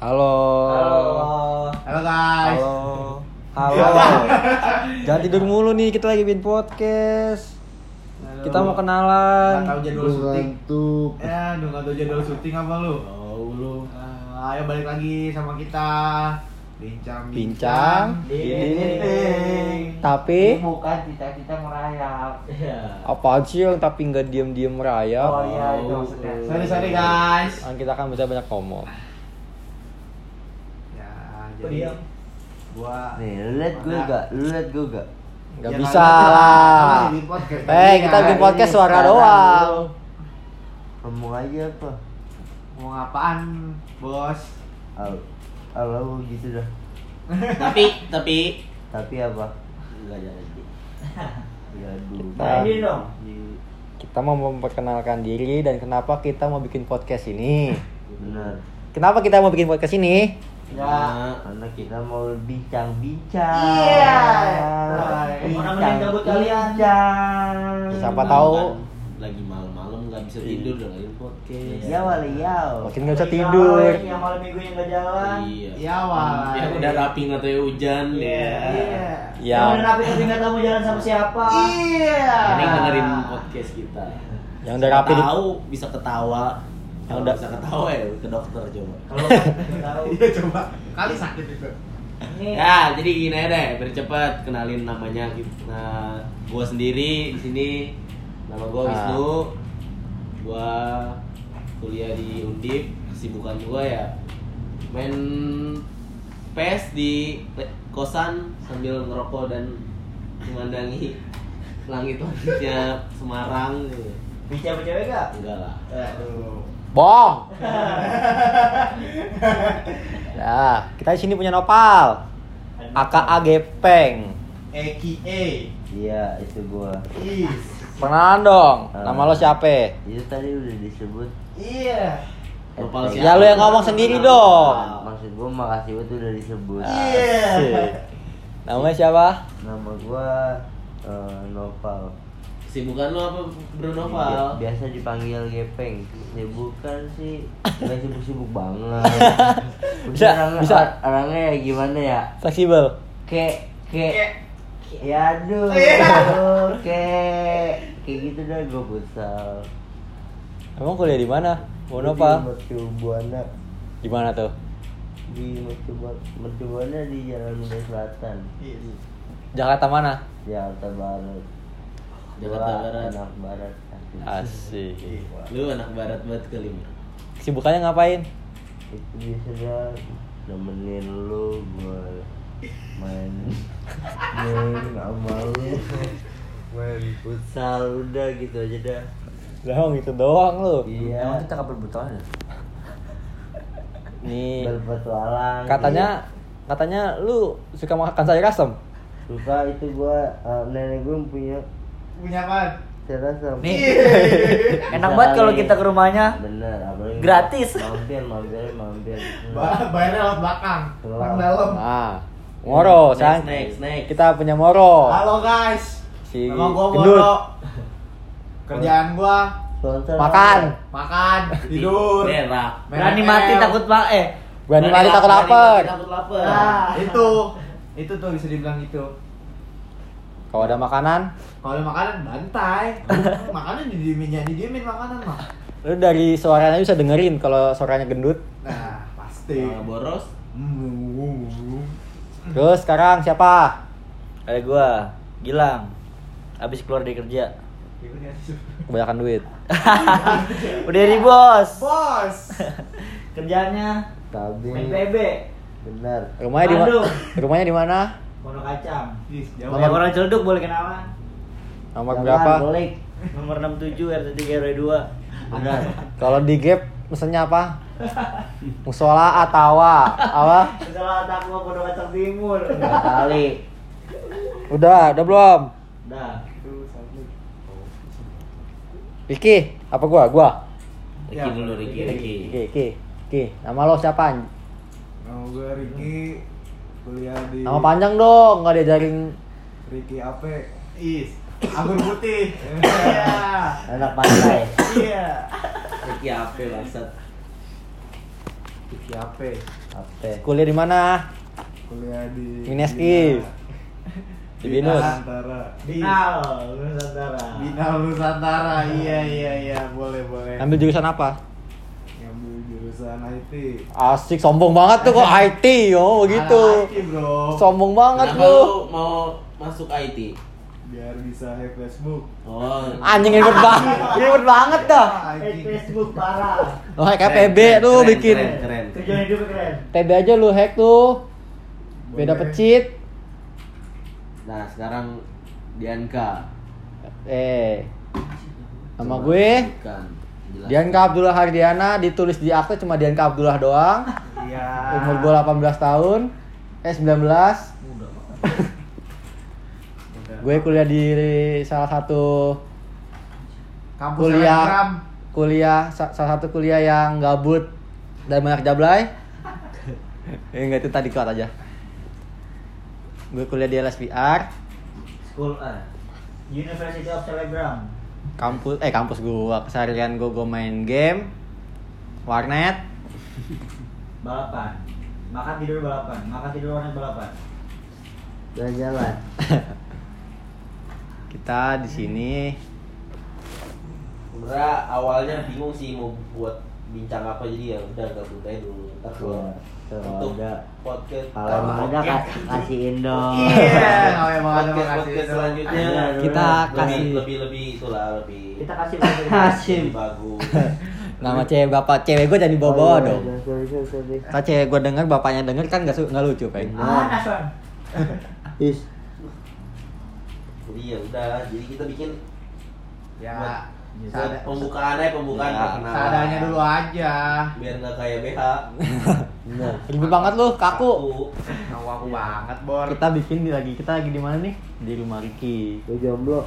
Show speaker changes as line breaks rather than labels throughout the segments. Halo.
Halo guys.
Halo. Halo. Jangan tidur mulu nih, kita lagi bikin podcast.
Halo.
Kita mau
Nggak tahu
kenalan.
jadwal syuting.
Ngantuk.
Ya, aduh nggak tahu jadwal syuting apa lu?
Tahu lu.
Eh, ayo balik lagi sama kita. Bincang.
Bincang.
Dinding.
Tapi
bukan cita-cita merayap.
Iya.
apaan sih yang tapi nggak diem-diem
Oh
merayap?
iya itu maksudnya.
Sorry sorry guys.
Kan kita akan bisa banyak ngomong.
Ya,
Diam.
jadi gua
Nih, lu liat gue gak? Lu liat gue gak?
Nggak
Ya,
bisa
nggak bisa.
lah.
Kita bikin podcast. ya. Iya,
Eh, kita bikin
Ini
podcast suara
sekarang
doang.
lu Ngomong aja apa?
Mau ngapaan, Bos?
Al Allah gitu dah.
Tapi tapi
Tapi apa?
enggak jadi.
Ya aduh.
Nah, ini
dong.
Kita mau memperkenalkan diri dan kenapa kita mau bikin podcast ini.
Benar.
Kenapa kita mau bikin podcast ini?
Ya.
nah,
Karena kita mau bincang-bincang.
Iya.
Orang
Orang
yang
mending gabut kalian.
Bincang.
Siapa tahu.
Kan,
Iya.
lagi malam-malam nggak bisa tidur dengerin podcast.
Ya wali ya.
Makin nggak bisa tidur.
Iya.
Ya, wah.
Ya udah rapi nggak tahu hujan ya.
Ya.
Iya.
Ini dengerin podcast kita.
Yang udah rapi di-
Tahu bisa ketawa.
Yang
Kalau
udah-
bisa ketawa ya ke dokter coba.
Iya coba. Kali sakit itu.
Ya, jadi gini aja deh, bercepat kenalin namanya gitu. Nah, gua sendiri di sini nama gua
Ah.
Wisnu. Gua kuliah di Undip. Kesibukan gua ya main PES di le- kosan sambil ngerokok dan memandangi langit-langitnya Semarang gitu.
Bincang cewek gak?
Enggak lah.
Aduh.
Bohong. ya, kita di sini punya Nopal. AKA Gepeng.
AKA.
Iya, itu gua.
Is.
Perkenalan dong.
Eh.
Nama lo siapa?
Itu tadi udah disebut.
Iya.
Nopal
Eh,
Ya lu yang ngomong sendiri dong.
Maksud gua makasih itu udah disebut.
Iya.
Asik. Namanya siapa?
Nama gua eh, Nopal.
Kesibukan lu apa Bro
Iya,
Noval?
Bi- Biasa dipanggil Gepeng. Sibukan sih nggak sibuk-sibuk banget.
Bisa,
orangnya,
bisa.
or- orangnya ya gimana ya?
Fleksibel.
Ke ke Ya aduh, ke kayak gitu dah gua futsal.
Emang kuliah di mana? Mau Nopal?
Mercu Buana
Di mana tuh?
di Mercu Bu- Mercu Buana di Jalan Medan Selatan,
Is.
Jakarta mana?
Jakarta Barat.
Jakarta
Gua
Barat.
Anak Barat. asli.
Asik.
Lu anak barat banget kali. Bro.
Kesibukannya ngapain?
itu biasanya nemenin lu gue main main sama lu main futsal udah gitu aja dah
Doang gitu doang lu.
iya
kita kapan butuhan ya?
Nih,
berpetualang
katanya katanya lu suka makan sayur asem.
Iya. suka itu gua eh, nenek gue punya
Punya apaan?
terasa
Iya.
Enak banget kalau kita ke rumahnya.
bener apalagi
Gratis.
mampir mampir mampir
Ba- Bayarnya lewat belakang. Lewat dalam.
Nah, Moro,
Next,
sayang.
next, next.
Kita punya Moro.
Halo guys.
Si
Nama gua
Gendut.
Moro. Kerjaan gua
sponsor
Makan.
makan, tidur.
Merah.
main
Berani
ML.
mati takut ma eh
Berani mati
lap-
takut
berani
lapar.
mati Takut lapar.
Nah, itu. Itu tuh bisa dibilang gitu. itu.
Kalau ada makanan,
Kalau ada makanan bantai. makanan didiemin ya, didiemin makanan mah.
lu dari suaranya bisa dengerin kalau suaranya gendut.
Nah, pasti.
Nah, boros.
Hmm.
Terus sekarang siapa?
Ada gua, Gilang. Abis keluar dari kerja.
Kebanyakan duit.
Udah di bos.
Bos.
Kerjanya
tabi
PB.
bener
Rumahnya di mana?
Aduh.
Rumahnya di mana?
Pondok Kacang.
Ih, jauh.
Banyak orang celduk boleh kenalan.
Nomor
Jangan,
berapa?
boleh.
Nomor 67 RT 3 RW 2.
bener
Kalau di Gap mesennya apa? Musola atawa apa?
Salah aku Pondok Kacang Timur.
Tiga
Iya.
kali
Udah, udah belum?
Dah.
Vicky, apa gua? Gua.
Ricky dulu, Ricky, Ricky.
Oke, oke. Oke, nama lo siapa?
Nama gue Ricky kuliah di
Nama panjang dong, nggak diajarin
Ricky AP. Is. Anggur putih. Iya.
anak pantai
Iya.
Ricky apa bangsat?
siapa?
Apa?
Kuliah di mana?
Kuliah di
UNSI. Di Binus.
Nusantara. Di
Binal Nusantara.
Binal Nusantara. Iya iya iya boleh boleh.
Ambil jurusan apa?
Ngambil jurusan IT.
Asik, sombong banget tuh kok IT yo begitu.
Anak IT, bro.
Sombong banget
Kenapa
lu.
lu mau masuk IT?
Biar bisa have Facebook.
Oh,
Anjing ribet banget, ribet banget dah.
Anjing.
Ah, Facebook parah.
Lo hack
keren,
PB
keren,
tuh
keren,
bikin.
Keren, keren.
Kerjaan hidup keren.
PB aja lu hack tuh. Beda
Boleh.
pecit.
Nah, sekarang Dianka.
Eh. Sama gue
Bukan. Jelas.
Dianka Abdullah Hardiana ditulis di akte cuma Dianka Abdullah doang.
Iya.
Umur gue 18 tahun. Eh 19.
Udah.
Gue kuliah di salah satu
kampus Telegram.
kuliah kuliah sa- salah satu kuliah yang gabut dan banyak jablay. eh enggak itu tadi kuat aja. Gue kuliah di LSPR,
School A. University of Telegram.
kampus eh kampus gua keseharian gua gua main game, warnet,
Balapan. Makan tidur balapan. Makan tidur warnet balapan.
Jalan-jalan.
kita di sini
Sebenernya awalnya bingung sih mau buat bincang apa jadi ya udah gabut aja dulu ntar
Iya,
kalau
kalau
untuk
ada.
podcast
Kalau emang ada ka- kasihin dong.
Iya, kalau emang ada
podcast
makasih.
podcast selanjutnya
Ada, ada.
Kita
lebih,
kasih.
lebih lebih itulah lebih
Kita kasih
Hasim.
lebih bagus
nama cewek bapak cewek gua jangan dibawa-bawa
Oh, iya,
dong.
iya, sorry, sorry, sorry.
Kalau cewek gua denger bapaknya denger kan nggak su- nggak lucu peng.
Ah, Nason.
Is,
jadi ya udah jadi kita bikin
Iya,
Ya.
Buat- buat
seada-
pembukaan aja pembukaan
Ya,
perkenalan.
Seadanya dulu aja.
biar nggak kayak BH
bener.
Ribet banget lu, kaku.
Aku aku banget bor.
Iya. Kita bikin di lagi kita lagi di mana nih? Di rumah Riki.
Gue jomblo.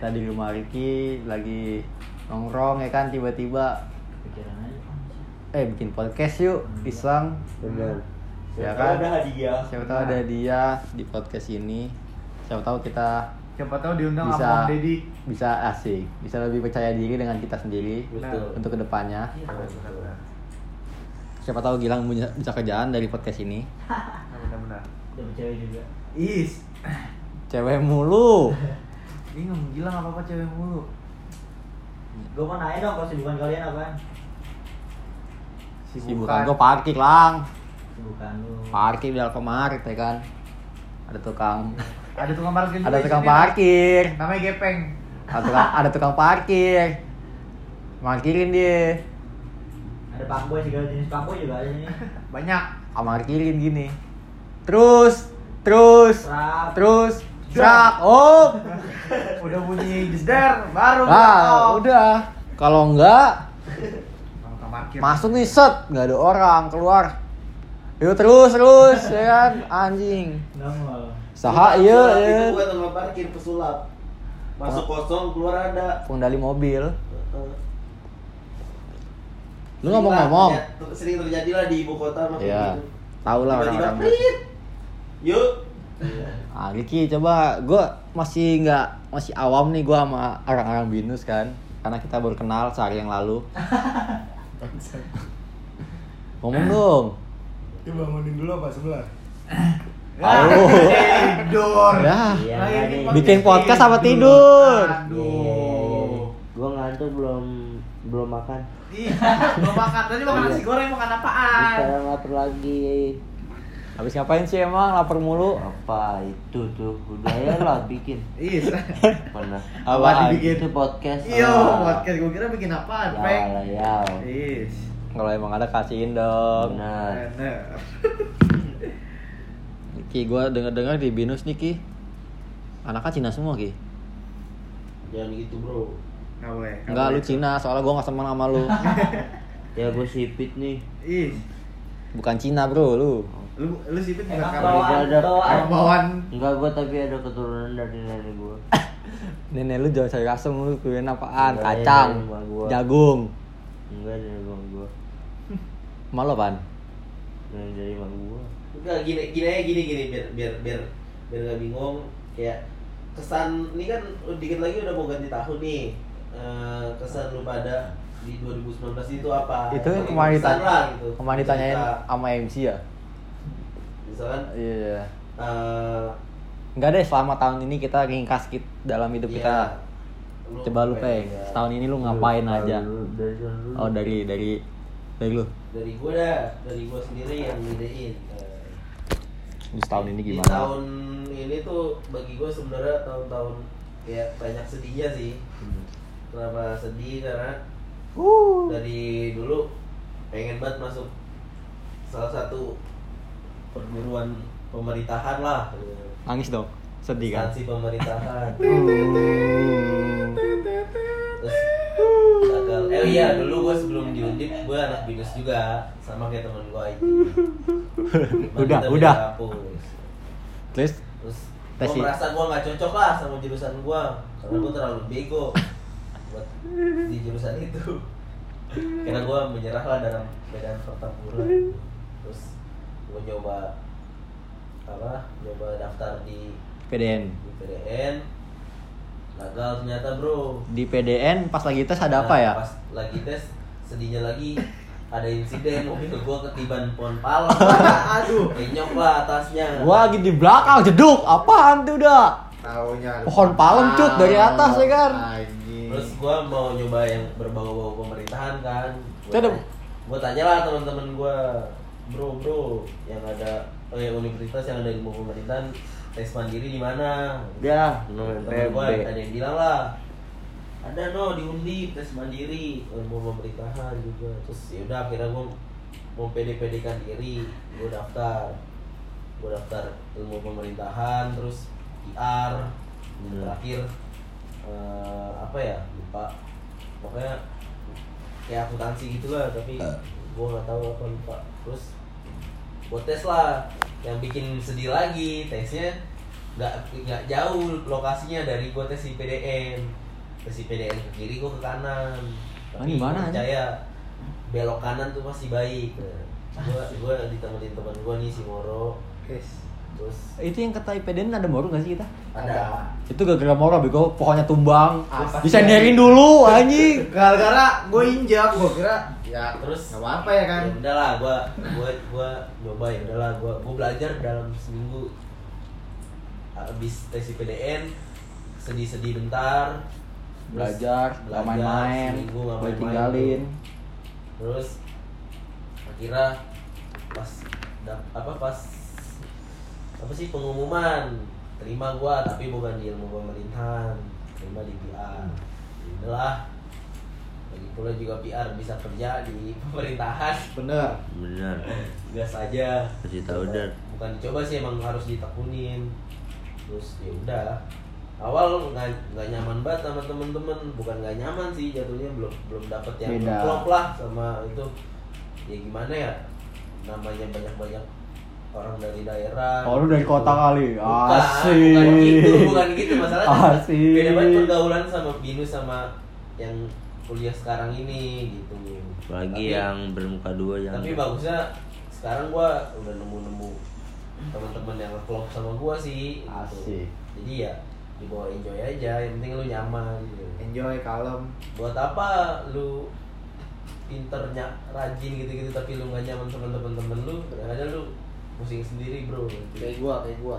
kita di rumah Riki lagi nongkrong ya kan tiba-tiba
Pikiran aja.
eh bikin podcast yuk iseng
Bener.
Iya
ya
Siapa
kan
ada hadiah
siapa tahu ada dia di podcast ini siapa tahu kita
Siapa tahu diundang
Bisa.
sama Om Deddy.
bisa asik bisa lebih percaya diri dengan kita sendiri
betul Iya,
untuk kedepannya siapa tahu Gilang punya- bisa kerjaan dari podcast ini
Nah, Benar-benar.
Udah cewek juga.
Is,
cewek mulu
bingung gila nggak apa-apa cewek mulu.
Gue mau nanya dong kesibukan kalian apaan?
kan?
sibukan gue parkir lang
Kesibukan lu.
parkir di Alfamart ya kan ada tukang
Ada tukang parkir. juga
ada
di
tukang
sini.
parkir
Namanya Gepeng.
ada tukang, ada tukang parkir markirin dia
Ada pakboy segala jenis pakboy juga ada sini.
Banyak.
ah, markirin gini terus terus
Serap.
terus Trak, oh,
Udah bunyi jeder baru.
ah, udah. Kalau enggak,
Tukang parkir.
masuk nih set, nggak ada orang keluar. Yuk terus terus, ya kan, anjing.
Nongol.
Saha iya,
Pesulap
iya.
itu buat tempat parkir pesulap masuk kosong keluar ada
Pengendali mobil.
Heeh.
Lu ngomong-ngomong,
Sering terjadi- sering terjadi lah di ibu kota makin
Iya.
gitu.
Tahu lah
Tiba-tiba,
orang-orang.
"Prit!" Yuk.
ah Riki coba, gue masih nggak masih awam nih gue sama orang-orang binus kan, karena kita baru kenal sehari yang lalu. Ngomong dong.
Itu bangunin dulu apa sebelah?
Aduh.
Tidur.
Ya.
Iya,
Lagi
nih.
ini
Bikin podcast apa
tidur.
tidur?
Aduh.
Gue ngantuk belum belum makan.
Ih, mau makan tadi makan nasi goreng makan apaan?
Sekarang lapar lagi.
Habis ngapain sih emang lapar mulu?
Apa itu tuh? Udah ya lah bikin.
Iya.
Ih,
Pernah.
Apaan?
dibikin?
Itu podcast.
Yo,
Ah.
podcast gue kira bikin apaan,
Ya
Peng?
lah, ya.
Ih,
Kalau emang ada kasihin dong.
Bener.
bener.
Ki, gue denger-dengar di binus nih Ki. Anaknya Cina semua Ki.
Jangan gitu, Bro.
Nggak boleh. nggak
Enggak lu
boleh.
Cina, soalnya gue gak seneng sama lu.
Ya gue sipit nih.
Ih,
Bukan Cina bro, lu.
lu lu sipit bukan
Emang
kan
kabar.
bawa-
bawaan,
Ada-
bawaan.
Orang bawaan.
Enggak gue tapi ada keturunan dari nenek gue.
Nenek lu jangan sayur asem lu kuliahin apaan?
Enggak,
Kacang,
ini rumah gua.
jagung.
Enggak dari bang gue.
Malu apaan?
Nenek dari bang gue.
Udah gini gini aja gini gini biar biar biar biar nggak bingung kayak kesan ini kan dikit lagi udah mau ganti tahun nih Eh, kesan lu pada di 2019 itu apa?
Itu
Yang
kemarin
berkesan
ditanya-
lah gitu.
Kemarin ditanyain
Cerita.
sama MC ya.
misalkan
Iya.
eh,
Enggak deh, selama tahun ini kita ringkas kit dalam hidup
iya,
kita.
lu ya.
Coba lu, Peng.
ngapain aja?
Setahun ini lu ngapain aja?
Dari sana dulu.
Oh, dari dari dari lu.
dari gua dah dari gua sendiri yang ngedein Eh,
Di setahun ini
Di
gimana?
tahun ini tuh bagi gue sebenarnya tahun-tahun ya banyak sedihnya sih.
Hmm.
Kenapa sedih karena dari dulu pengen banget masuk salah satu perguruan pemerintahan lah.
Iya Nangis dong. Sedih kan?
Instansi pemerintahan.
Hmm.
Terus gagal. Eh iya dulu gue sebelum di Undip gue anak binus juga sama kayak temen gue IT. Cuman
Udah,
kita beda
udah.
kampus.
Terus
terus
Tes
gue
i-
merasa gue nggak cocok lah sama jurusan gue karena gue terlalu bego buat di jurusan itu karena gue menyerah lah dalam medan pertempuran terus gue nyoba apa nyoba daftar di,
PDN.
di PDN gagal ternyata bro
Di PDN pas lagi tes ada apa
Nah,
ya?
pas lagi tes sedihnya lagi ada insiden mobil gue ketiban pohon pala aduh kenyok lah atasnya
Gua lagi di belakang jeduk. Apaan tuh udah?
Taunya ada
Pohon palem, Cut, dari atas, ya kan?
Anjing.
Terus gua mau nyoba yang berbau-bau pemerintahan kan.
Itu
Gua,
ada-
gua tanya lah teman-teman gua, bro bro, yang ada oh ya, universitas yang ada ilmu pemerintahan tes mandiri di mana?
Ya.
Temen gua ada yang bilang lah, ada no di Undip tes mandiri ilmu pemerintahan juga. Terus ya udah akhirnya gua mau pede-pedekan diri, gua daftar, gua daftar ilmu pemerintahan, terus IR,
Hmm.
terakhir eh, apa ya lupa pokoknya kayak akuntansi gitu lah tapi gua nggak tahu apa lupa terus buat tes lah yang bikin sedih lagi tesnya nggak nggak jauh lokasinya dari gua tes IPDN tes IPDN ke kiri gua ke kanan
Ah, di mana,
gua percaya belok kanan tuh masih baik Nah, gua gua ditemenin teman gua nih si Moro
Yes.
terus
Itu yang kata IPDN ada moro gak sih kita?
ada
Itu gara-gara moro bego, pohonnya tumbang. Ah,
Apa sih?
Disenderin dulu anjing.
Gara-gara gue injak, gue kira ya
Terus-
nggak apa-apa ya kan.
ya udahlah gua gua gua nyoba ya udahlah gua gua belajar dalam seminggu habis tes IPDN sedih-sedih bentar terus
Belajar, gak
belajar,
main-main,
seminggu nggak
gue
main-main
tinggalin.
terus akhirnya pas dap- apa pas apa sih pengumuman terima gua tapi bukan di ilmu pemerintahan terima di PR Ya udahlah lagi pula juga PR bisa kerja di pemerintahan
Bener.
Benar.
gas aja
Kasih
Ya
tahu,
Coba.
Dar.
bukan dicoba sih emang harus ditekunin terus ya udah awal nggak nggak nyaman banget sama temen-temen bukan nggak nyaman sih jatuhnya belum belum dapet yang
Beda.
klop lah sama itu ya gimana ya namanya banyak-banyak orang dari daerah
Oh, lu dari kota kali.
Bukan,
Asik.
bukan gitu bukan gitu masalahnya
Asik.
beda banget pergaulan sama binus sama yang kuliah sekarang ini gitu
Bagi
Tapi-
ya.
yang bermuka dua yang
tapi bagusnya sekarang gua udah nemu-nemu teman-teman yang klop sama gua sih gitu.
Asik.
jadi ya dibawa enjoy aja yang penting lu nyaman gitu.
Enjoy, kalem.
buat apa lu pinternya rajin gitu-gitu tapi lu nggak nyaman sama teman-teman lu kadang-kadang lu pusing sendiri bro
Kayak
itu
gue, kayak gue.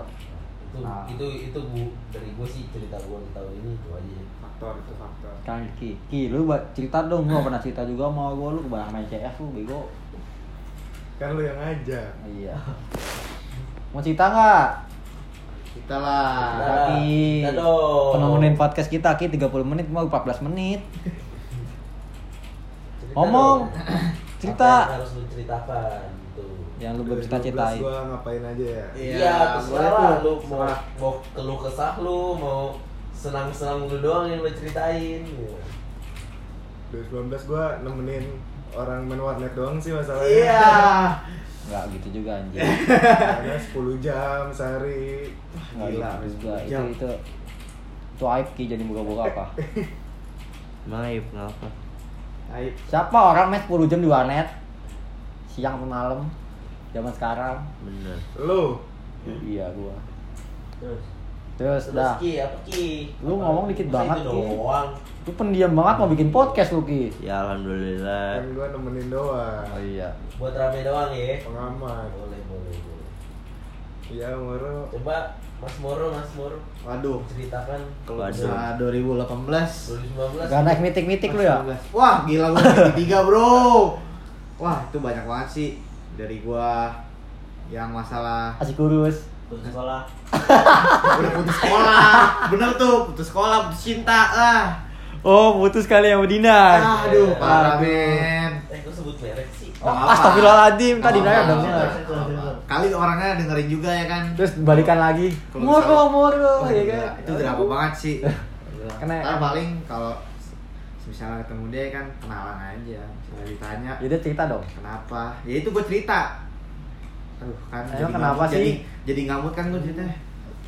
Ah.
itu itu gua, dari gua sih cerita gua di tahun ini itu aja
Faktor itu faktor.
Kan Ki, Ki lu ba- cerita dong,
Eh.
gua pernah cerita juga sama gua lu kebanyakan main CF lu bego.
Kan lu yang ngajak.
Iya. Mau cerita nggak?
Kita lah.
Kita.
Tapi
Nah, Cerita dong.
penemenin podcast kita Ki 30 menit mau 14 menit.
Cerita
Ngomong.
dong.
Cerita.
Apa yang harus lu ceritakan gitu
Yang lu belum
Dari
cita-citain.
12 Gua ngapain aja ya.
Iya, terserah
boleh
lah
tuh.
lu mau mau keluh kesah lu, mau senang-senang lu doang yang lu ceritain. gitu.
2019 gua nemenin orang main warnet doang sih masalahnya.
Iya.
Enggak gitu juga anjing.
Eh,
Karena 10 jam sehari.
Enggak
Wah, Gila,
gitu juga.
10
Itu
jam.
itu itu aib Ki jadi buka-buka apa?
Maif ngapa?
Aib.
Siapa orang main 10 jam di warnet? Siang ke malam. Zaman sekarang.
Benar.
Lu
Iya gua.
Terus
Terus dah.
Terus Ki, apa Ki?
Lu
Apa?
ngomong dikit
Masa
banget,
itu
Ki.
doang.
Lu pendiam banget mau bikin podcast lu Ki.
Ya alhamdulillah.
Kan gua nemenin doang.
Oh iya.
Buat rame doang ya.
Pengamat.
Boleh, boleh, boleh.
Iya, Moro.
Coba Mas Moro, Mas Moro
Waduh.
ceritakan
Waduh.
Nah, 2018.
2019.
Gak naik mitik-mitik lu ya?
2019. Wah, gila gua jadi tiga, Bro. Wah, itu banyak banget sih dari gua yang masalah
Asik kurus.
Terus sekolah.
udah putus sekolah bener tuh putus sekolah putus cinta lah
Oh, putus kali yang Dinar.
aduh parah
Aduh.
men
Eh, kok sebut merek sih?
Oh, apa?
Astagfirullahaladzim, tadi Dinar
Nggak
dong.
apa-apa. kali orangnya dengerin juga ya kan
Terus balikan lagi.
Kalau
Moro,
misalnya-
moro,
Wah,
ya
gila,
kan? Iya,
itu drama banget sih
Kena.
Ntar paling kalau misalnya ketemu dia kan kenalan aja misalnya ditanya
Jadi Ya cerita dong.
kenapa ya itu gue cerita aduh kan
Emang kenapa sih?
ngamut, jadi, jadi ngamut kan gue cerita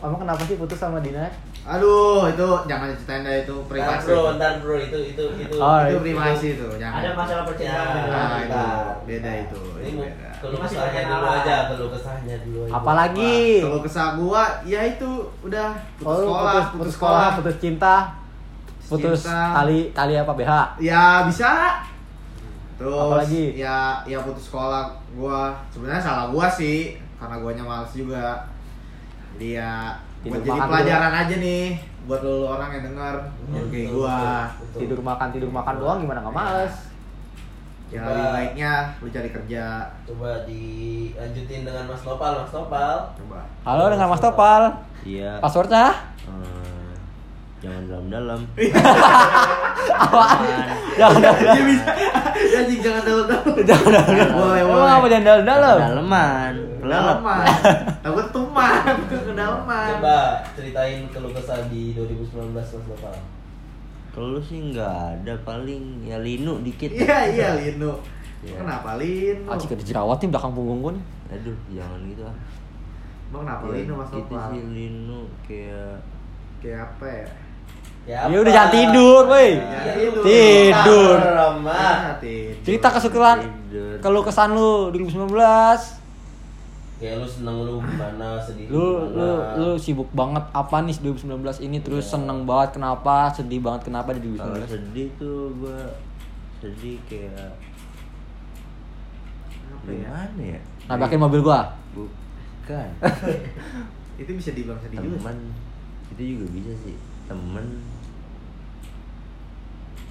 Emang kenapa sih putus sama Dinar?
aduh itu jangan ceritain dah itu
Ntar
privasi
bro, ntar bro itu itu itu.
Oh,
itu privasi itu jangan
Ada masalah percintaan
Ya.
dengan
Nah, itu
kita.
beda itu.
Ini
itu
mau
beda.
kalau
Ini masih
kesahnya
pengenalan.
dulu aja, kalau kesahnya dulu aja.
Apalagi?
Kalau kesal gua, ya itu udah putus
Oh,
sekolah, putus, sekolah,
putus cinta, putus
cinta.
tali tali apa BH?
Ya bisa. Terus
Apalagi?
ya ya putus sekolah gua. Sebenarnya salah gua sih karena guanya males juga. Jadi ya
Tidur
buat jadi
makan
pelajaran aja nih buat lo orang yang dengar
Hmm,
yang kayak
betul,
gua.
betul, betul.
Tidur makan tidur makan doang gimana nggak males?
Ya
Coba.
lebih baiknya lu cari kerja
Coba dilanjutin dengan Mas Nopal, Mas Nopal.
coba.
Halo dengan Mas Topal.
Iya.
Passwordnya?
Eh, jangan dalam-dalam.
Iya.
Apaan? Jangan dalam.
ya Jing, Iya, jangan dalam-dalam. Boleh,
Emang
boleh.
apa jangan dalam dalam?
Dalaman. Kelelep.
Kedalaman. Takut tuman, kedalaman.
Coba ceritain keluh kesah di 2019 Mas Nopal.
Kalau lu sih nggak ada paling ya linu dikit.
Iya iya Lino.
Iya.
Kenapa Lino?
Aci ada jerawat Ah, nih belakang punggung gue nih.
Aduh, jangan gitu ah.
Bang kenapa
Ya,
Lino Mas
gitu
Nopal?
sih linu kayak
Kayak apa ya?
Ya,
Ya
apa?
udah jangan tidur, woi.
Ya,
Tidur.
Tidur.
Ramah.
Nah, tidur.
Cerita kesukuran
Tidur.
kalau kesan lu 2019.
Kayak Ya, lu seneng lu gimana, sedih
Lu lu
gimana.
lu sibuk banget apa nih 2019 ini terus seneng banget kenapa, sedih banget kenapa di
kalau
2019?
sedih tuh gua sedih kayak
Apa ya?
gimana ya?
Nabrakin mobil gua.
Bukan.
Itu bisa dibilang sedih juga.
Temen itu juga bisa sih. Temen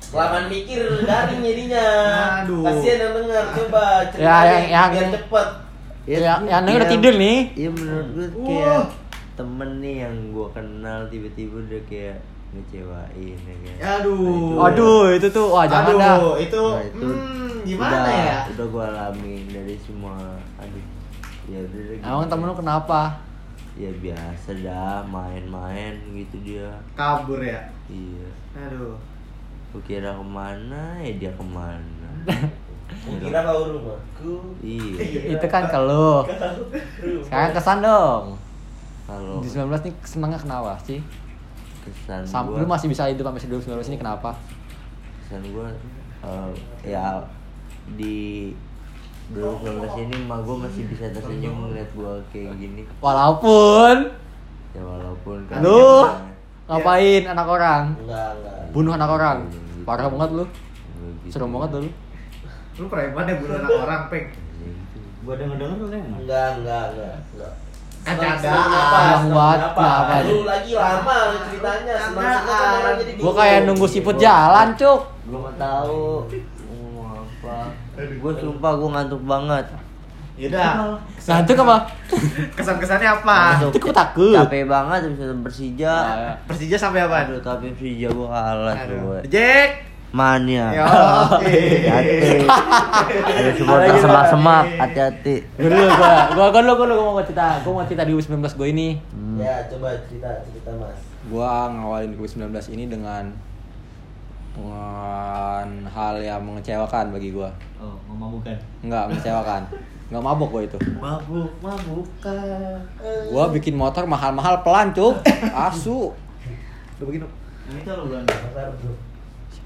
Kelamaan mikir garing jadinya.
Aduh.
Kasihan yang denger, coba cerita
Ya, yang-
nih,
yang-
biar cepet.
Ya, yang denger udah
ya-
tidur nih.
Iya menurut gue
Wah.
kayak temen nih yang gua kenal tiba-tiba udah kayak ngecewain ya kan.
Aduh.
Nah, itu
Aduh, itu tuh wah jangan dah.
Aduh, itu,
Nah, itu
hmm, gimana
udah,
ya?
Udah gua alamin dari semua aduh. Ya udah deh,
Emang
gitu.
temen lu kenapa?
Ya biasa dah main-main gitu dia.
Kabur ya.
Iya.
Aduh.
Gua kira kemana ya dia kemana.
Kira kau rumahku.
iya.
Itu kan ke lu. Sekarang kesan dong.
Kalau
Di 19 nih senengnya kenapa sih?
kesan
Sam, lu
gua
masih bisa hidup sampai 2019 ini kenapa?
kesan gue ya di 2019 ini mah gue masih bisa tersenyum ngeliat gue kayak gini
Walaupun
ya walaupun
lu ngapain anak orang?
Enggak, enggak.
Bunuh anak orang. Parah banget lu.
Nggak gitu.
Serem banget lu.
Lu preman ya bunuh anak orang, Peng.
Ya gitu.
Gua denger-denger lu kan.
Enggak, enggak, enggak. enggak.
Kan
Senang-
ada.
senang apa?
Yang
senang
buat
apa?
kenapa?
Lu lagi lama lu ceritanya. Senang senang kan orang jadi
Gua kayak nunggu siput Hmm. jalan, Cuk.
gue nggak tahu mau apa gue sumpah gue ngantuk banget
Yaudah.
Nah, itu apa?
Ya Kesan-kesannya apa?
Ngantuk.
Ah, Itu gua takut.
capek banget bisa Persija
Ya, ya.
Persija sampai apa?
aduh tapi Persija gue kalah
Aduh.
tuh
Jack.
mania
Ya.
hati-hati ada supporter
Ada
semak
gitu.
semak hati-hati
Gua dulu gua. Gua gua dulu gua dulu gua mau cerita. Gua mau cerita di 19 gua ini.
Ya, coba cerita, cerita Mas.
gua ngawalin 2019 ini dengan dengan hal yang mengecewakan bagi gua
Oh, ngomong bukan.
nggak mengecewakan nggak mabok gua itu
Mabuk, mabukan.
gua bikin motor mahal-mahal pelan cuk asu
Lu begini.
Yang itu lu bulan.
Bentar, bro.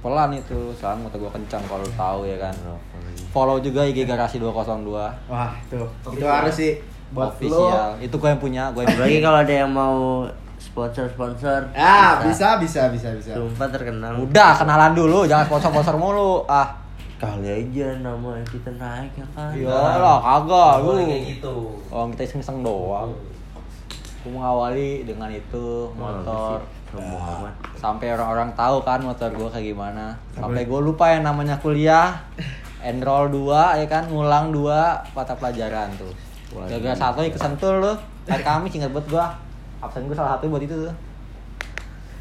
pelan itu sekarang motor gua kencang kalau lu tahu ya kan
Oh, iya.
follow juga IG garasi 202
Wah, tuh. Itu harus sih buat lo.
official itu gua yang punya gua yang punya
Apalagi kalau ada yang mau sponsor sponsor
Ah, bisa bisa bisa bisa.
sumpah terkenal
Udah kenalan dulu, jangan sponsor-sponsor mulu. Ah,
kali aja nama kita naik ya kan
Iya.
iyalah kagak lu.
Boleh Iya. kayak gitu.
Oh, kita iseng-iseng doang. Aku mengawali dengan itu
Oh,
motor
gitu.
Sombong amat.
sampai orang-orang tahu kan motor gue kayak gimana. Sampai gue lupa yang namanya kuliah. Enroll 2 ya kan, ngulang 2 mata pelajaran tuh.
Waduh.
Jaga satu ikut sentul lu. Hari Kamis ingat buat gua. Absen gua salah satu buat itu tuh.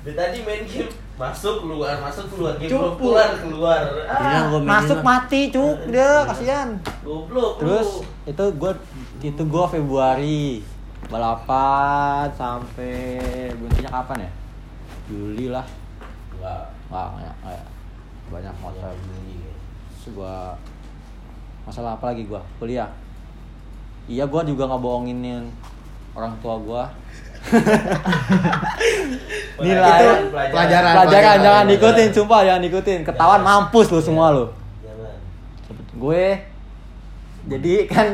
Dari tadi main game masuk keluar masuk keluar game belum keluar keluar.
Iya.
Bilang
Ah,
Iya, gua mainin
Masuk
lah. Iya.
mati cuk dia kasihan.
goblok. lu.
Terus itu gue itu gue Februari balapan sampai buntinya kapan ya? Juli lah.
Wah,
Wah banyak banyak, banyak motor.
motor bunyi.
Terus gue masalah apa lagi gue kuliah. Iya gue juga nggak bohonginin orang tua gue. Nilai.
Itu
Pelajaran,
pelajaran.
Pelajaran, jangan diikutin,
pelajaran.
sumpah jangan diikutin. Ketahuan
Jangan.
mampus lu semua lu.
Jangan.
gue jadi kan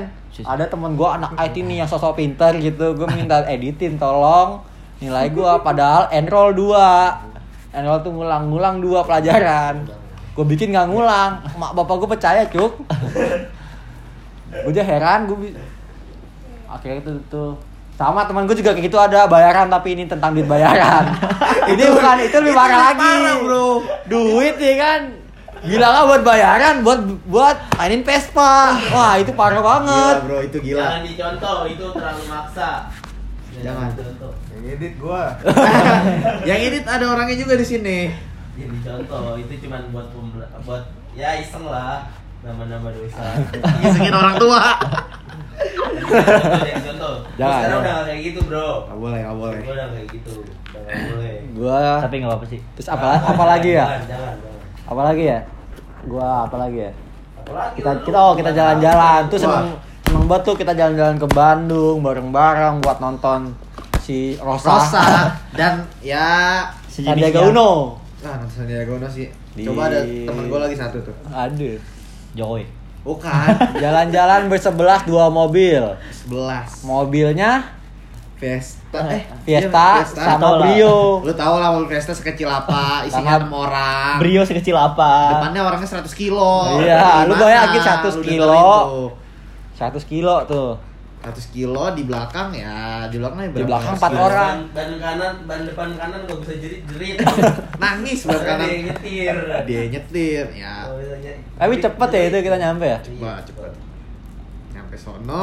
ada temen gue anak IT nih yang sosok pinter gitu gue minta editin tolong nilai gue padahal enroll 2 enroll tuh ngulang-ngulang dua pelajaran gue bikin nggak ngulang mak bapak gue percaya cuk gue aja heran gue bi- akhirnya itu tuh sama teman gue juga kayak gitu ada bayaran tapi ini tentang duit bayaran ini bukan itu lebih parah lagi duit ya kan bilangnya buat bayaran buat buat mainin Vespa wah itu parah
Gila,
banget
bro, itu gila.
Jangan dicontoh, itu terlalu maksa.
Jangan.
dicontoh.
Yang edit gua. Yang edit ada orangnya juga di sini.
Jangan Iya, dicontoh, itu cuman buat pembela- buat ya iseng lah nama-nama dosa. Iya,
Ngisengin orang tua.
Jangan contoh.
Jangan,
Sekarang
jangan.
udah nggak kayak gitu, Bro.
Gak boleh, gak boleh.
Gue udah kayak gitu. Udah nggak boleh.
gue
tapi nggak apa-apa sih
terus apa apalagi ya
Jangan, jangan, jangan.
apalagi ya gue apalagi ya
Apalagi
kita
lu,
kita oh kita
gimana?
jalan-jalan tuh
Wah.
seneng seneng banget tuh kita jalan-jalan ke Bandung bareng-bareng buat nonton si Rosa,
Rosa dan ya
Sandiaga Uno
ah nonton Sandiaga Uno sih.
Di-
Coba ada temen gua lagi satu tuh.
aduh
Jokowi
Bukan,
Jalan-jalan bersebelah dua mobil.
11.
Mobilnya
Fiesta eh
Fiesta
iya,
sama Brio.
Lu tau lah mobil Fiesta sekecil apa, isinya
Sama
6 orang.
Brio sekecil apa
Depannya orangnya 100 kilo.
Iya, lu
Gimana?
bayangin 100
Lu dengerin
kilo.
tuh.
100 kilo tuh.
100 kilo di belakang ya, di belakang ya
Di belakang
orang?
empat orang.
ban kanan ban depan kanan gak bisa jerit jerit
Nangis belakang
Iya,
kanan. Ah.
Dia nyetir.
Dia nyetir ya.
Nggak bisa nyetir.
Tapi cepet ya itu kita nyampe ya.
Coba
Iya,
cepet. Nyampe sono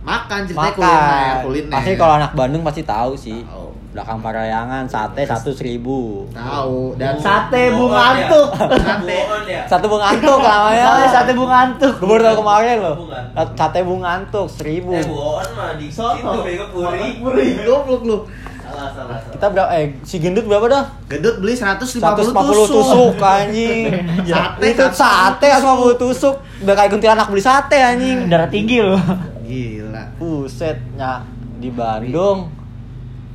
makan ya, ceritanya kuliner,
Makan.
kuliner.
Pasti kalau anak Bandung pasti tahu sih.
Tahu.
Belakang Parayangan sate satu seribu.
tahu dan
Sate
Bohon
bunga
ya.
antuk.
Sate.
Bohon ya.
Satu bung antuk
Soalnya
namanya.
sate bunga antuk.
Gue baru tahu kemarin loh.
Bunga Antuk.
Sate bung antuk seribu.
Eh bohon mah di situ
Sono.
bego puri.
Wih, goblok lu.
Salah salah.
Kita berapa? Eh si gendut berapa dah?
Gendut beli
150
150, tusuk.
tusuk kan. anjing.
Sate,
itu sate 150 tusuk. Udah kayak kuntilanak beli sate anjing.
Darah tinggi loh.
Gila.
Buset, nyak di Bandung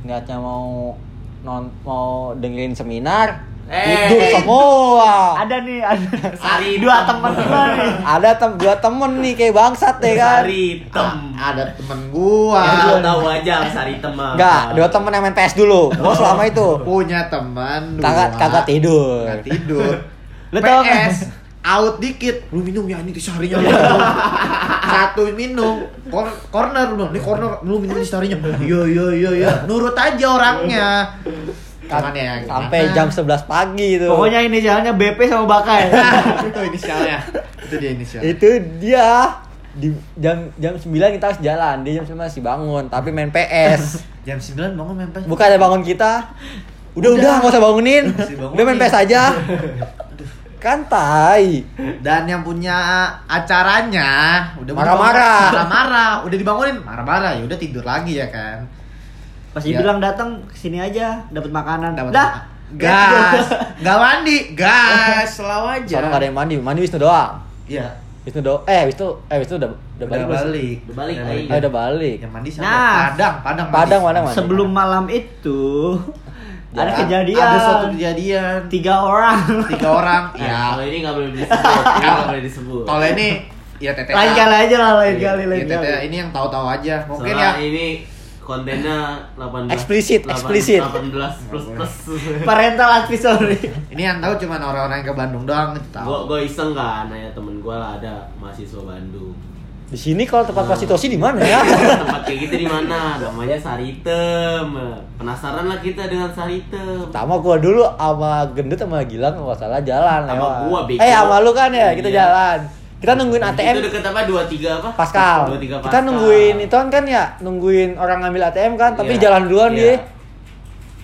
niatnya mau non mau dengerin seminar
Eh.
tidur semua. Ada,
Ada nih, ada.
Sari.
Dua teman gua nih.
tem dua temen nih kayak bangsat ya kan.
Sari tem.
Ah,
A- ada temen Ah. Iya, gua.
Ya lu tahu aja sari temang.
Enggak, dua temen yang main PS dulu. Gua selama itu
punya teman
kagak kagak tidur.
ah. Nggak tidur.
Lu tau nggak?
PS out dikit. kan? Lu minum ya ini kesarinya. Satu minum, Cor- corner lu. Ini corner lu minum kesarinya. Iya iya iya iya. Nurut aja orangnya. Cuman ya gimana?
Sampai jam 11 pagi itu.
Pokoknya ini jalannya BP sama Bakai.
itu inisialnya. Itu dia inisialnya.
itu dia di jam jam 9 kita harus jalan, dia jam 9 masih bangun tapi main PS.
Jam 9 bangun main PS.
Bukan ada bangun kita. Udah udah nggak usah bangunin.
Masih bangunin.
Udah main PS aja. kan tai.
Dan yang punya acaranya udah mau
Marah-marah.
dibangun- Marah-marah, udah dibangunin, marah-marah ya udah tidur lagi ya kan.
Pas
Ya.
dibilang datang sini aja dapat makanan.
Dapat
Dah.
gas, nggak mandi, gas, selalu aja.
Soalnya nggak ada yang mandi, mandi Wisnu doang.
Iya.
Wisnu do eh Wisnu eh Wisnu udah udah balik. belum sih?
Udah balik,
Udah
Eh, udah balik.
Yang mandi sama
Nah.
Padang, Padang.
Padang
mandi.
Padang mandi.
Sebelum malam itu ada
Ya,
kejadian.
Ada suatu kejadian.
tiga orang.
Tiga orang. ya.
Kalau ini nggak boleh disebut. Ini nggak boleh disebut.
Kalau ini ya TTA.
Lain kali aja lah, lain
Ya,
Iya,
kali lain
TTA
kali.
ini yang tahu-tahu aja. Mungkin
Soalnya
ya
ini kontennya 18
Eksplisit,
8
eksplisit.
18 plus plus
Parental advisory.
Ini yang tahu cuma orang-orang yang ke Bandung doang itu tahu.
gue gue iseng kan nanya temen gue lah ada mahasiswa Bandung
Di sini kalau
Ah.
tempat prostitusi di mana ya?
tempat kayak gitu di mana namanya Saritem penasaran lah kita dengan Saritem
Pertama gua dulu sama gendut sama Gilang kalau nggak salah jalan
Sama
lewat.
gua, bego.
Eh sama lu kan ya kita
Iya.
jalan. Kita nungguin ATM
itu deket apa 23 apa
Pascal.
23
Kita nungguin itu kan ya, nungguin orang ngambil ATM kan, tapi
Iya.
jalan duluan
Iya.
dia.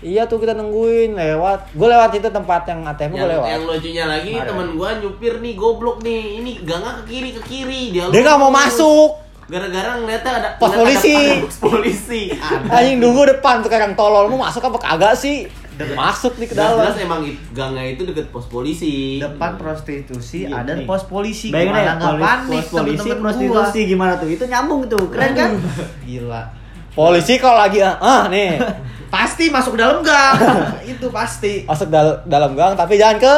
Iya tuh kita nungguin lewat. Gue lewat itu tempat yang ATM gue
yang,
lewat.
yang lucunya lagi
Kemarin.
temen gua nyupir nih goblok nih ini gangga ke kiri ke kiri dia
Dia nggak mau
lurus.
masuk.
gara-gara ngeliatnya ada
Pos
ngeliat ada-
polisi.
ada pos polisi
Anjing nunggu depan sekarang tolol mau masuk apa kagak sih? Masuk nih ke dalam.
jelas ya. emang it- gangga itu deket pos polisi
Depan prostitusi
Iya,
ada
nih.
pos polisi.
Bayangin
Gimana
ya,
nggak
polis-
panik
pos polisi
temen-temen
prostitusi
gua.
gimana tuh? Itu nyambung tuh, keren kan?
Gila.
Polisi kalau lagi ah ah, nih
Pasti masuk ke dalam gang. itu pasti.
masuk dal- dalam gang tapi jangan ke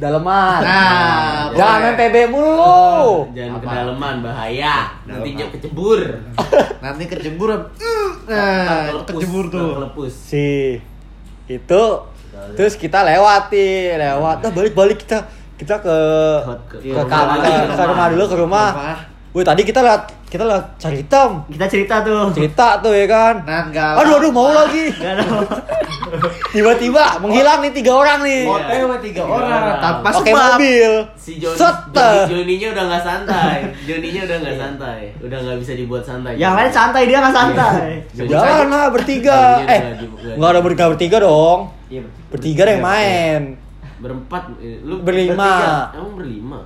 Ah,
daleman.
Nah,
jangan
boleh.
main PB mulu.
Ah, jangan
Apa?
kedalaman bahaya nantinya
Kedalaman.
kecebur
Nanti kecebur. mm, Nah,
Kelepus,
kecebur tuh.
kelepus
si itu terus kita lewati lewat nah balik balik kita kita ke
Ke-
ke, ke,
ke rumah
ke-
lagi,
ke
rumah.
rumah dulu ke rumah
Rumah.
Wih tadi kita lihat kita lihat cari hitam
Kita cerita tuh.
cerita tuh ya kan
Nah, enggak.
aduh aduh mau lagi
Gak ada.
tiba-tiba menghilang nih tiga orang nih
Iya.
OTW tiga orang tanpa
pakai
sebab.
mobil
si Joni
Set.
Joninya udah nggak santai Joninya udah nggak santai udah nggak bisa dibuat santai Iya.
Yang lain santai, dia gak santai.
Iya.
Joni-
jalan lah bertiga
Joninya
eh
udah di- udah-
nggak ada bertiga bertiga dong
Iya.
bertiga deh yang main
berempat eh, lu
Berlima.
bertiga. emang berlima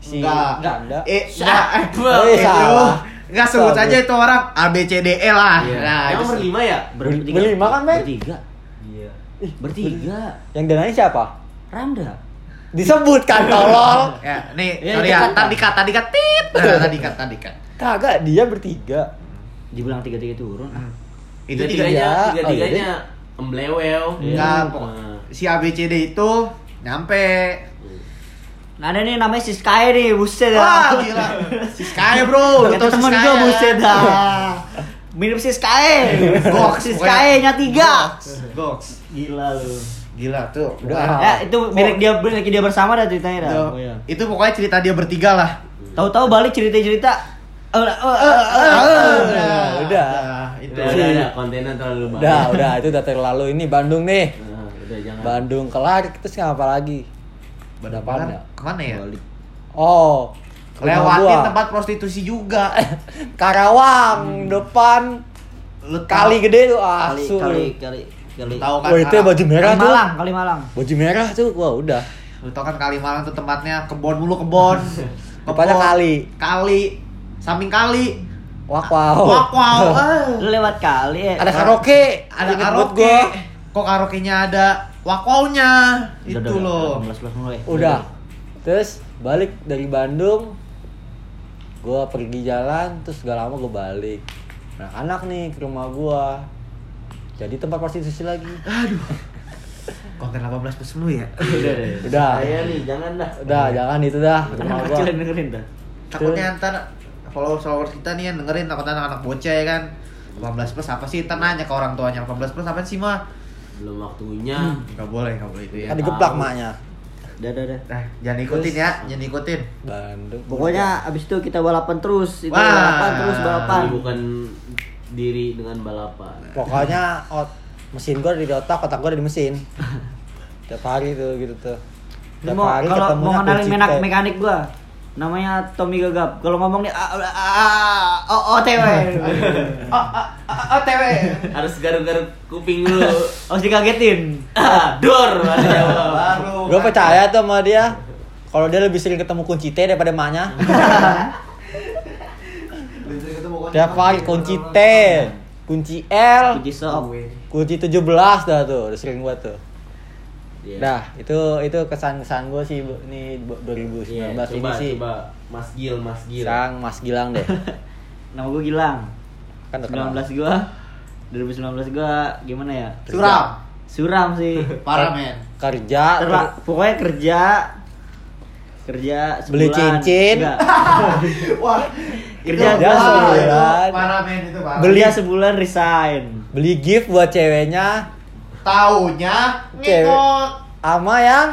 si
Enggak.
ada
Eh, enggak.
Ah,
Shut
Eh,
up.
Eh,
itu.
salah.
Enggak sebut
Salah.
aja itu orang A B C D E lah.
Iya.
Nah, itu
emang berlima ya
Ber- berlima kan men
Bertiga.
iya
Bertiga.
yang dananya siapa
Ramda.
disebutkan tolol
Ya, nih,
Ya,
sorry
itu
ya.
kan.
Tadi kat, tadi kat, tit. Nah, tadi kat, tadi kat.
Kagak, dia bertiga.
Dibilang tiga-tiga turun. ah.
Itu
tiga.
tiga
tiga.
tiganya
Oh,
tiga
iya.
tiganya emblewew
Enggak,
Iya.
pokok-
Nah,
Si A B C D itu nyampe.
Nah, ada nih namanya si Sky nih, buset
Wah,
dah.
gila. Si Sky, ya? Bro.
Kata
Itu
temen gua buset dah. Mirip si Sky.
Goks,
si
pokoknya.
Sky nya tiga.
Gox.
Gila lu.
Gila tuh.
Udah.
Ya, itu mirip dia mirip dia bersama dah ceritanya dah.
Itu,
Oh, iya.
itu pokoknya cerita dia bertiga lah.
Tahu-tahu balik cerita-cerita. Eh, eh, eh, eh,
Nah.
eh.
udah.
itu.
udah udah udah kontennya terlalu banyak
Udah, udah, itu udah terlalu. Ini Bandung nih.
Nah, udah jangan
Bandung kelar, terus ngapa lagi?
Benar
Depan ya?
Kemana ya?
balik
Oh, ke rumah
Lewatin
gua. Eh,
tempat prostitusi juga.
Karawang depan
Lu
kali
tahu-
gede tuh ah,
Kali
suruh.
kali kali kali.
Tahu kan?
Wah, itu yang baju merah tuh.
Kalimalang, Kalimalang.
Baju merah tuh, wah udah.
Lu tau kan Kalimalang tuh tempatnya kebon mulu kebon.
Depannya
Kebon,
kali.
Kali. Samping kali.
Wak wow.
Wow, wow. eh.
Lu lewat kali ya.
Ada karaoke,
Ada
Ingat buat
karaoke.
gua.
Kok karaoke-nya ada wakwaunya?
Udah,
Itu
udah,
loh.
18 mulu ya.
Udah. Terus balik dari Bandung gua pergi jalan terus gak lama gua balik. Nah, anak nih ke rumah gua. Jadi tempat prostitusi lagi.
Konten 18 plus mulu ya.
udah deh.
Udah.
saya nih jangan dah
Udah, jangan itu dah. Rumah
Anak
gua.
kecil yang dengerin dah.
Takutnya ntar followers followers kita nih yang dengerin takutnya anak-anak bocah ya kan. 18 plus apa sih? Ntar nanya ke orang tuanya 18 plus apa sih mah?
belum waktunya
Gak boleh, gak boleh itu ya.
Kan digeplak maknya.
Udah, udah, udah.
Nah, jangan ikutin ya, jangan ikutin.
Bandung.
Pokoknya abis itu kita balapan terus, itu
Wah.
balapan terus balapan.
Jadi bukan diri dengan balapan
pokoknya ot- mesin gua ada di otak, otak gua ada di mesin. Tiap hari tuh gitu tuh.
Ini mau kalau mau
ketemunya
kenalin
kunci
menak
T.
mekanik gua namanya Tommy Gagap. Kalau ngomong nih ah, ah, ah, oh, OTW. Oh, ah, ah, OTW.
harus garuk-garuk kuping dulu
Harus dikagetin.
Ah, dor baru
Iya,
jawab.
Baru.
Gua percaya tuh sama dia. Kalau dia lebih sering ketemu kunci T daripada maknya. Tiap hari kunci T, kunci L,
Kunci sok.
kunci 17 dah tuh, udah sering buat tuh.
Iya.
Dah, itu itu kesan-kesan gue sih bu- ini bu- 2019
Iya,
ini
coba
sih.
coba Mas Gil, Mas Gil.
Sang Mas Gilang deh.
Nama gua Gilang.
Kan udah kenal.
19 gua 2019 gua gimana ya?
Suram.
Suram sih.
Parah men.
Kerja,
Terla- pokoknya kerja kerja sebulan.
Beli cincin.
Enggak.
Wah,
Dia
Kerja keras
sebulan.
sebulan.
Parah men itu parah.
Beli-
Dia sebulan resign.
Beli gift buat ceweknya
Taunya
Cewek.
ngikut
sama yang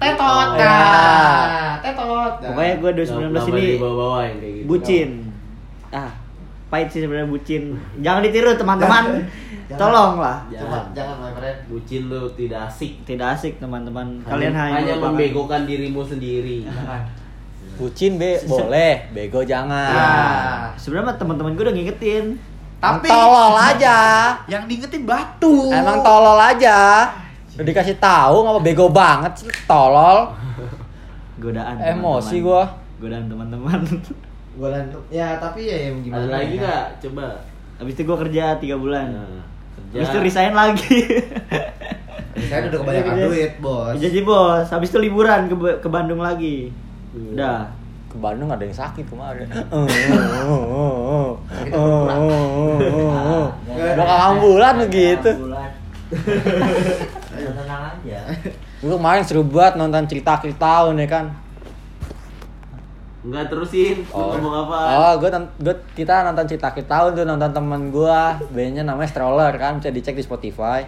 tetot.
Ya.
Nah, tetot. Nah.
Pokoknya gue 2019 ini
bawa-bawain kayak gitu.
bucin. Ah, pahit sih sebenarnya bucin. Jangan ditiru teman-teman. Tolonglah.
Coba jangan my friend.
Bucin lu tidak asik.
Tidak asik teman-teman. Kalian hanya,
hanya
merupakan-
membegokan dirimu sendiri.
bucin be boleh, bego
Iya.
jangan.
Nah.
Sebenarnya teman-teman gue udah ngingetin.
Tapi
Tapi
tolol aja.
yang diingetin batu.
Emang tolol aja. Udah dikasih tahu ngapa bego banget sih tolol.
Godaan.
Emosi
teman-teman.
gua.
Godaan teman-teman.
Gua lan- ya tapi ya yang gimana.
Ada lagi
ya.
nggak? Coba.
Habis itu gue kerja 3 bulan.
Nah,
Habis itu resign lagi.
Saya udah kebanyakan
Iya, iya.
duit, Bos.
Jadi bos, habis itu liburan ke, ke Bandung lagi.
Iya.
Udah.
Ke Bandung ada yang sakit kemarin. Udah gitu. ke ambulan begitu.
Tenang aja.
Gue kemarin seru banget nonton cerita cerita tahun ya kan.
Enggak terusin. Lu ngomong apa?
Oh, gue kita nonton cerita cerita tahun tuh nonton teman gue. Bandnya namanya Stroller kan bisa dicek di Spotify.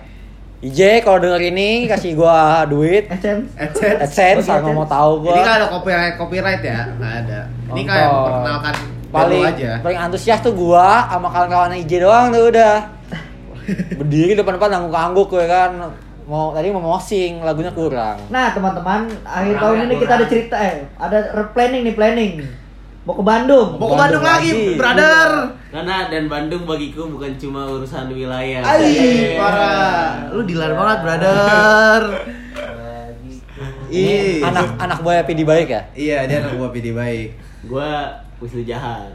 IJ kalau denger ini kasih gue duit.
Eh,
Adsense.
AdSense nggak mau tahu gue.
kan
Ini nggak ada copyright copyright ya, nggak ada. Ini kayak memperkenalkan
paling
dulu aja.
paling antusias tuh gua sama kawan-kawan IG doang tuh udah berdiri depan-depan ngangguk-ngangguk ya kan mau tadi mau mosing lagunya kurang
Nah teman-teman, akhir
Kurang,
tahun
ya,
ini kita
kurang.
ada cerita eh ada re- planning nih planning. Mau ke Bandung.
Mau ke Bandung lagi,
lagi.
brother.
Karena dan Bandung bagiku bukan cuma urusan wilayah.
Ai, parah. Lu dilar banget, brother.
ini
Ih.
anak anak buaya pidi baik ya
Iya, dia anak buah PD baik.
Gua Wisnu Jahat.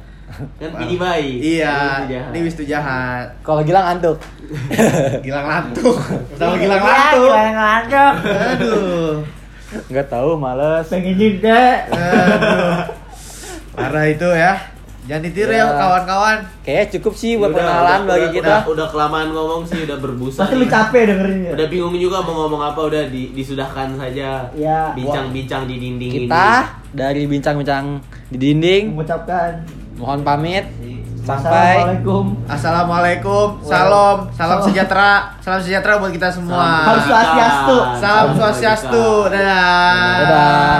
Kan Pidi Bayi.
Iya,
Wisnu Jahat.
ini Wisnu jahat.
kalau Gilang antuk
Gilang lantuk. Sama Gilang
Iya,
lantuk.
Gilang ngantuk.
Aduh.
nggak tahu males
Pengen juga.
Aduh. Parah itu ya. Jangan ditiru
Ya.
ya kawan-kawan.
kayaknya cukup sih buat
Ya Udah,
pengenalan
udah,
bagi
udah,
kita
Udah, udah kelamaan ngomong sih, udah berbusa.
Pasti lu capek dengerinnya.
Udah bingung juga mau ngomong apa, udah di- disudahkan saja.
Ya.
Bincang-bincang di dinding ini.
kita dari bincang-bincang di dinding
Mengucapkan
mohon pamit
Iya.
sampai
Assalamualaikum.
Assalamualaikum, salam, salam sejahtera, salam sejahtera buat kita semua.
Salam
Harus swastiastu.
kebajikan.
Salam swastiastu. Dadah.
dadah